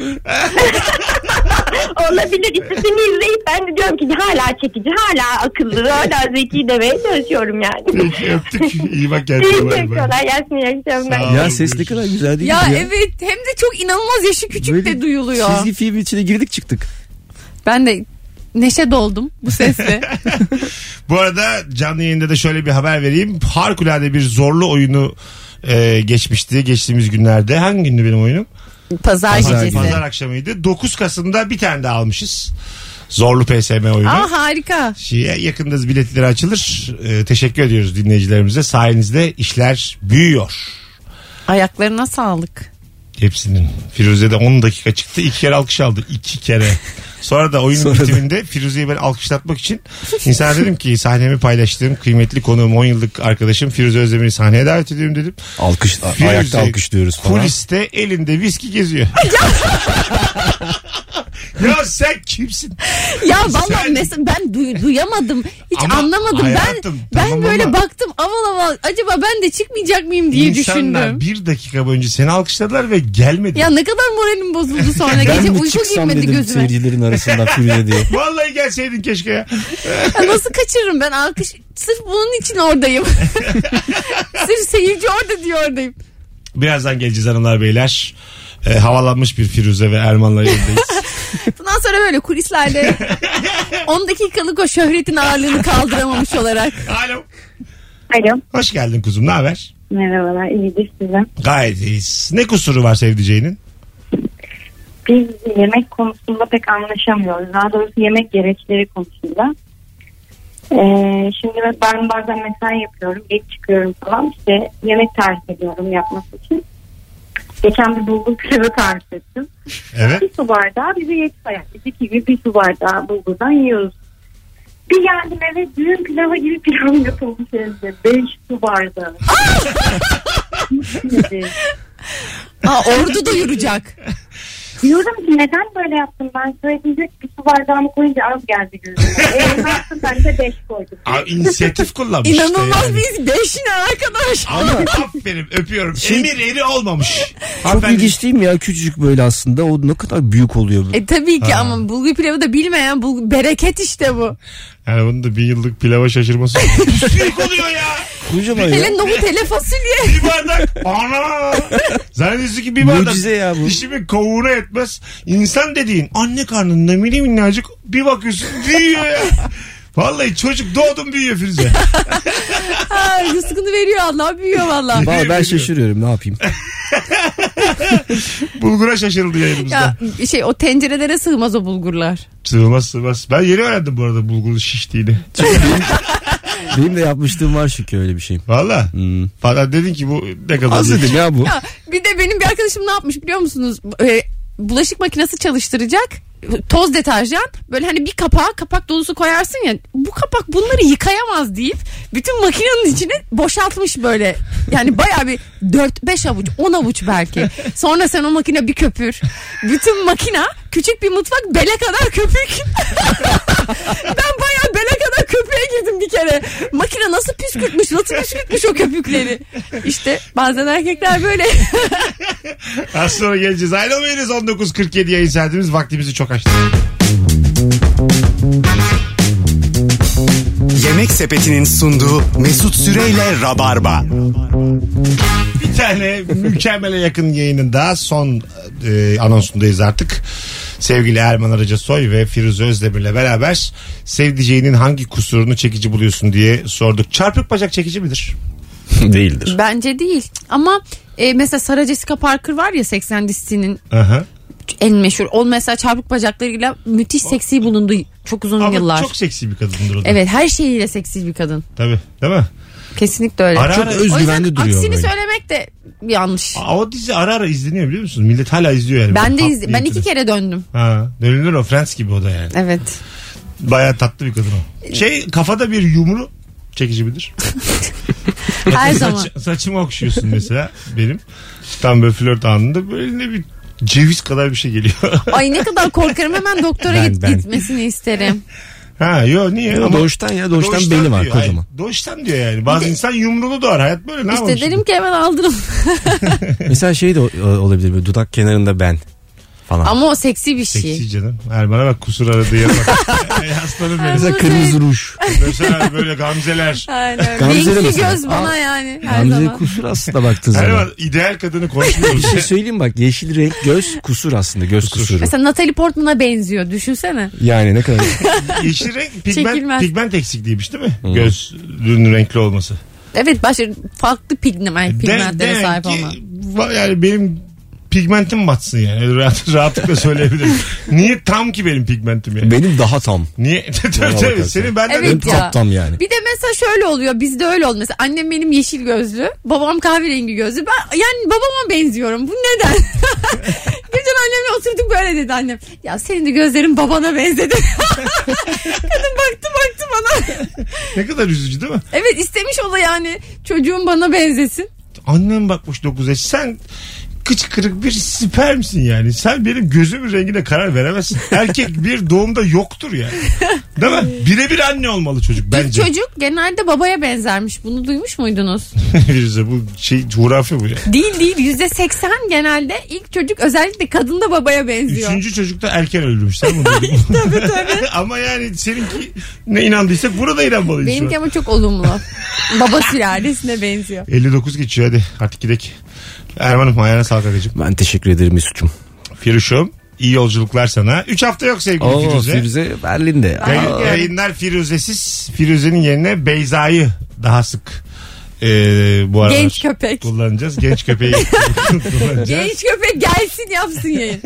[SPEAKER 14] Olabilir ikisini izleyip ben de diyorum ki hala çekici hala akıllı hala zeki demeye çalışıyorum yani.
[SPEAKER 2] Peki öptük. İyi bak
[SPEAKER 14] İyi
[SPEAKER 2] kendine. Bay bay.
[SPEAKER 14] şakalar gelsin iyi akşamlar.
[SPEAKER 2] Sağ ol,
[SPEAKER 4] Ya ses ne
[SPEAKER 2] görüşürüz.
[SPEAKER 4] kadar güzel değil
[SPEAKER 3] Ya
[SPEAKER 4] mi
[SPEAKER 3] evet hem de çok inanılmaz yaşı küçük
[SPEAKER 4] Böyle
[SPEAKER 3] de duyuluyor.
[SPEAKER 4] Çizgi film içine girdik çıktık.
[SPEAKER 3] Ben de neşe doldum bu sesle.
[SPEAKER 2] Bu arada canlı yayında da şöyle bir haber vereyim. Harikulade bir zorlu oyunu e, geçmişti geçtiğimiz günlerde. Hangi gündü benim oyunum?
[SPEAKER 3] Pazar gecesi.
[SPEAKER 2] Pazar akşamıydı. 9 Kasım'da bir tane daha almışız. Zorlu PSM oyunu.
[SPEAKER 3] Aa harika.
[SPEAKER 2] Şeye, yakında biletleri açılır. E, teşekkür ediyoruz dinleyicilerimize. Sayenizde işler büyüyor.
[SPEAKER 3] Ayaklarına sağlık.
[SPEAKER 2] Hepsinin. Firuze'de 10 dakika çıktı. iki kere alkış aldı. iki kere. Sonra da oyunun
[SPEAKER 4] Sonra da-
[SPEAKER 2] bitiminde Firuze'yi ben alkışlatmak için insana dedim ki sahnemi paylaştığım kıymetli konuğum 10 yıllık arkadaşım Firuze Özdemir'i sahneye davet ediyorum dedim.
[SPEAKER 4] Alkış, a- ayakta alkışlıyoruz falan.
[SPEAKER 2] Kuliste elinde viski geziyor. ya sen kimsin?
[SPEAKER 3] Ya vallahi
[SPEAKER 2] Sen-
[SPEAKER 3] mesela ben duy- duyamadım. Hiç
[SPEAKER 2] Ama
[SPEAKER 3] anlamadım.
[SPEAKER 2] hayatım,
[SPEAKER 3] ben ben
[SPEAKER 2] tamam
[SPEAKER 3] böyle
[SPEAKER 2] ama-
[SPEAKER 3] baktım aval aval acaba ben de çıkmayacak mıyım diye
[SPEAKER 2] İnsanlar
[SPEAKER 3] düşündüm.
[SPEAKER 2] bir dakika boyunca seni alkışladılar ve gelmedi.
[SPEAKER 3] Ya ne kadar moralim bozuldu sonra.
[SPEAKER 4] Ben
[SPEAKER 3] Gece
[SPEAKER 4] mi
[SPEAKER 3] uyku
[SPEAKER 4] çıksam
[SPEAKER 3] girmedi
[SPEAKER 4] dedim
[SPEAKER 3] gözüme.
[SPEAKER 4] seyircilerin arasından Firuze diye.
[SPEAKER 2] Vallahi gelseydin keşke ya.
[SPEAKER 3] Ya nasıl kaçırırım ben alkış? Sırf bunun için oradayım. Sırf seyirci orada diye oradayım.
[SPEAKER 2] Birazdan geleceğiz hanımlar beyler. E, havalanmış bir Firuze ve Erman'la yayındayız.
[SPEAKER 3] Bundan sonra böyle kulislerde 10 dakikalık o şöhretin ağırlığını kaldıramamış olarak.
[SPEAKER 2] Alo.
[SPEAKER 10] Alo.
[SPEAKER 2] Hoş geldin kuzum. Ne haber?
[SPEAKER 10] Merhabalar. İyidir size.
[SPEAKER 2] Gayet iyiyiz. Ne kusuru var sevdiceğinin?
[SPEAKER 10] Biz yemek konusunda pek anlaşamıyoruz. Daha doğrusu yemek gereçleri konusunda. Ee, şimdi ben bazen mesai yapıyorum. Geç çıkıyorum falan. İşte yemek tarif ediyorum yapması için. Geçen bir bulgur pilavı tarif ettim.
[SPEAKER 2] Evet.
[SPEAKER 10] Bir su bardağı bize yetiyor. Yani Biz iki gibi bir su bardağı bulgurdan yiyoruz. Bir geldim eve düğün pilavı gibi pilav yapılmış evde. Beş su bardağı. Yedi.
[SPEAKER 3] Aa, ordu doyuracak.
[SPEAKER 10] Diyorum ki neden böyle yaptım ben söyleyecek bir su bardağını koyunca az geldi gözüme. Eee ne yaptım ben de beş koydum.
[SPEAKER 2] Aa, inisiyatif kullanmış işte
[SPEAKER 3] İnanılmaz
[SPEAKER 2] yani.
[SPEAKER 3] biz beşin arkadaş.
[SPEAKER 2] Ama aferin öpüyorum.
[SPEAKER 4] Şey-
[SPEAKER 2] Emir eri olmamış.
[SPEAKER 4] Çok
[SPEAKER 2] Hanımefendi-
[SPEAKER 4] ilginç değil mi ya? Küçücük böyle aslında. O ne kadar büyük oluyor.
[SPEAKER 3] E tabii ki
[SPEAKER 2] Ha.
[SPEAKER 3] ama bulgur pilavı da bilmeyen bulgur, bereket işte bu.
[SPEAKER 2] Yani bunun da bir yıllık pilava şaşırması. Büyük oluyor ya.
[SPEAKER 4] Kocaman ya.
[SPEAKER 3] Hele nohut hele fasulye.
[SPEAKER 2] Bir bardak. Ana. Zannediyorsun ki bir bardak.
[SPEAKER 4] Mucize ya bu.
[SPEAKER 2] Dişimin kovuğuna etmez. İnsan dediğin anne karnında mini minnacık bir bakıyorsun büyüyor ya. Vallahi çocuk doğdum büyüyor Firuze.
[SPEAKER 3] Ha, rızkını veriyor Allah büyüyor valla.
[SPEAKER 4] Vallahi ben
[SPEAKER 2] Biliyorum.
[SPEAKER 4] şaşırıyorum. Ne yapayım?
[SPEAKER 2] Bulgura şaşırıldı yayınımızda.
[SPEAKER 3] Ya şey o tencerelere sığmaz o bulgurlar.
[SPEAKER 2] Sığmaz sığmaz. Ben yeni öğrendim bu arada bulgurun şiştiğini.
[SPEAKER 4] Benim de yapmışlığım var çünkü öyle bir şey.
[SPEAKER 2] Valla.
[SPEAKER 4] Hmm. şey.
[SPEAKER 2] Falan dedin ki bu ne kadar.
[SPEAKER 4] Az dedim ya bu.
[SPEAKER 3] Ya bir de benim bir arkadaşım ne yapmış biliyor musunuz? Ee, bulaşık makinesi çalıştıracak. Toz deterjan böyle hani bir kapağa kapak dolusu koyarsın ya bu kapak bunları yıkayamaz deyip bütün makinenin içine boşaltmış böyle. Yani baya bir 4-5 avuç 10 avuç belki. Sonra sen o makine bir köpür. Bütün makina küçük bir mutfak bele kadar köpük. ben baya bele kadar köpüğe girdim bir kere. Makine nasıl püskürtmüş nasıl püskürtmüş o köpükleri. İşte bazen erkekler böyle.
[SPEAKER 2] Az sonra geleceğiz. Ayrılmayınız 19.47 yayın saatimiz. Vaktimizi çok açtık.
[SPEAKER 1] Yemek Sepeti'nin sunduğu Mesut Süreyle Rabarba.
[SPEAKER 2] Bir tane mükemmele yakın yayınında son e, anonsundayız artık. Sevgili Erman Araca Soy ve Firuze Özdemir'le beraber sevdiceğinin hangi kusurunu çekici buluyorsun diye sorduk. Çarpık bacak çekici midir?
[SPEAKER 4] Değildir.
[SPEAKER 3] Bence değil ama e, mesela Sarah Jessica Parker var ya 80 dizisinin
[SPEAKER 2] Aha.
[SPEAKER 3] en meşhur. O mesela çarpık bacaklarıyla müthiş seksi bulundu çok uzun
[SPEAKER 2] Ama
[SPEAKER 3] yıllar.
[SPEAKER 2] çok seksi bir kadındır o da.
[SPEAKER 3] Evet her şeyiyle seksi bir kadın.
[SPEAKER 2] Tabii değil mi?
[SPEAKER 3] Kesinlikle öyle.
[SPEAKER 2] Ara Çok ara- özgüvenli
[SPEAKER 3] O yüzden
[SPEAKER 2] duruyor
[SPEAKER 3] Aksini
[SPEAKER 2] böyle.
[SPEAKER 3] söylemek de yanlış.
[SPEAKER 2] Aa, o dizi ara ara izleniyor biliyor musunuz? Millet hala izliyor yani.
[SPEAKER 3] ben de
[SPEAKER 2] Pat
[SPEAKER 3] izle-
[SPEAKER 2] diye
[SPEAKER 3] ben iki
[SPEAKER 2] izliyor.
[SPEAKER 3] kere döndüm.
[SPEAKER 2] Ha, dönülür o Friends gibi o da yani.
[SPEAKER 3] Evet.
[SPEAKER 2] Baya tatlı bir kadın o. Şey kafada bir yumru çekici midir?
[SPEAKER 3] Her zaman.
[SPEAKER 2] Saçımı okşuyorsun mesela benim. Tam böyle flört anında böyle ne bir ceviz kadar bir şey geliyor.
[SPEAKER 3] Ay ne kadar korkarım hemen doktora
[SPEAKER 2] Ben-
[SPEAKER 3] git-
[SPEAKER 2] ben.
[SPEAKER 3] gitmesini isterim.
[SPEAKER 2] ha yo niye?
[SPEAKER 4] Yo, doğuştan ya, doğuştan beyni var
[SPEAKER 2] diyor.
[SPEAKER 4] kocaman.
[SPEAKER 2] Hayır, doğuştan diyor yani. Bazı insan yumrulu doğar. Hayat böyle
[SPEAKER 3] işte
[SPEAKER 2] ne yapalım
[SPEAKER 3] derim ki hemen aldırın.
[SPEAKER 4] Mesela şey de o- olabilir böyle dudak kenarında ben falan.
[SPEAKER 3] Ama o seksi bir şey.
[SPEAKER 2] Seksi canım. Erman'a bak kusur aradı ya. Ey Aslanım benim.
[SPEAKER 4] Mesela kırmızı ruj.
[SPEAKER 2] Mesela böyle gamzeler.
[SPEAKER 3] Aynen.
[SPEAKER 4] Gamze'de
[SPEAKER 3] Renkli
[SPEAKER 4] mesela.
[SPEAKER 3] göz bana yani her
[SPEAKER 4] Gamze
[SPEAKER 3] zaman.
[SPEAKER 4] kusur aslında baktığın zaman.
[SPEAKER 2] Erman ideal kadını
[SPEAKER 4] Bir
[SPEAKER 2] konuşmuyoruz.
[SPEAKER 4] şey söyleyeyim bak yeşil renk göz kusur aslında göz kusuru.
[SPEAKER 3] Mesela Natalie Portman'a benziyor düşünsene.
[SPEAKER 4] Yani ne kadar
[SPEAKER 2] Yeşil renk pigment,
[SPEAKER 3] Çekilmez.
[SPEAKER 2] pigment eksikliymiş değil mi? Gözünün renkli olması.
[SPEAKER 3] Evet başka farklı pigment,
[SPEAKER 2] De-
[SPEAKER 3] pigmentlere
[SPEAKER 2] demek
[SPEAKER 3] sahip
[SPEAKER 2] ki
[SPEAKER 3] olma.
[SPEAKER 2] va- Yani benim pigmentim batsın yani. Öyle Rahat, rahatlıkla söyleyebilirim. Niye tam ki benim pigmentim yani?
[SPEAKER 4] benim daha tam.
[SPEAKER 2] Niye? Tabii,
[SPEAKER 4] Bana
[SPEAKER 2] tabii.
[SPEAKER 4] bakarsan.
[SPEAKER 2] Senin benden
[SPEAKER 3] Evet
[SPEAKER 4] Benim
[SPEAKER 3] ya.
[SPEAKER 4] kaptan yani.
[SPEAKER 3] Bir de mesela şöyle oluyor bizde öyle oldu. Mesela annem benim yeşil gözlü, babam kahverengi gözlü. Ben yani babama benziyorum. Bu neden? Geçen annemle oturduk böyle dedi annem. Ya senin de gözlerin babana benzedi. Kadın baktı baktı bana.
[SPEAKER 2] ne kadar üzücü değil mi?
[SPEAKER 3] Evet istemiş o da yani çocuğum bana benzesin.
[SPEAKER 2] Annem bakmış 9 yaş. Sen kıç kırık bir spermsin yani. Sen benim gözümün rengine karar veremezsin. Erkek bir doğumda yoktur yani. Değil mi? Birebir anne olmalı çocuk bence.
[SPEAKER 3] Çocuk genelde babaya benzermiş. Bunu duymuş muydunuz?
[SPEAKER 2] Firuze bu şey coğrafya bu ya.
[SPEAKER 3] değil değil. Yüzde seksen genelde ilk çocuk özellikle kadında babaya benziyor.
[SPEAKER 2] Üçüncü çocukta erken ölürmüş. Sen bunu duydun mu? ama yani seninki ne inandıysak burada da inanmalıyız. şu an.
[SPEAKER 3] Benimki ama çok olumlu. Baba sülalesine benziyor.
[SPEAKER 2] 59 geçiyor hadi artık gidelim. Erman'ım ayağına sağlık agacım.
[SPEAKER 4] Ben teşekkür ederim Mesut'cum.
[SPEAKER 2] Firuş'um iyi yolculuklar sana. 3 hafta yok sevgili
[SPEAKER 4] Oo
[SPEAKER 2] Firuze.
[SPEAKER 4] Firuze Berlin'de.
[SPEAKER 2] Yay-
[SPEAKER 4] Aa.
[SPEAKER 2] yayınlar Firuzesiz. Firuze'nin yerine Beyza'yı daha sık e, bu aralar
[SPEAKER 3] Genç köpek.
[SPEAKER 2] kullanacağız. Genç köpeği kullanacağız.
[SPEAKER 3] Genç köpek gelsin yapsın yayın.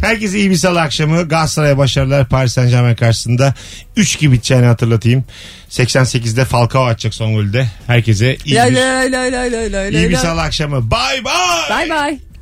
[SPEAKER 2] Herkese iyi bir salı akşamı. Galatasaray'a başarılar Paris Saint Germain karşısında. 3 gibi biteceğini hatırlatayım. 88'de Falcao atacak son golü de. Herkese iyi
[SPEAKER 3] Lay
[SPEAKER 2] bir,
[SPEAKER 3] lay lay lay lay lay
[SPEAKER 2] iyi bir
[SPEAKER 3] lay.
[SPEAKER 2] salı akşamı. Bay bay.
[SPEAKER 3] Bay bay.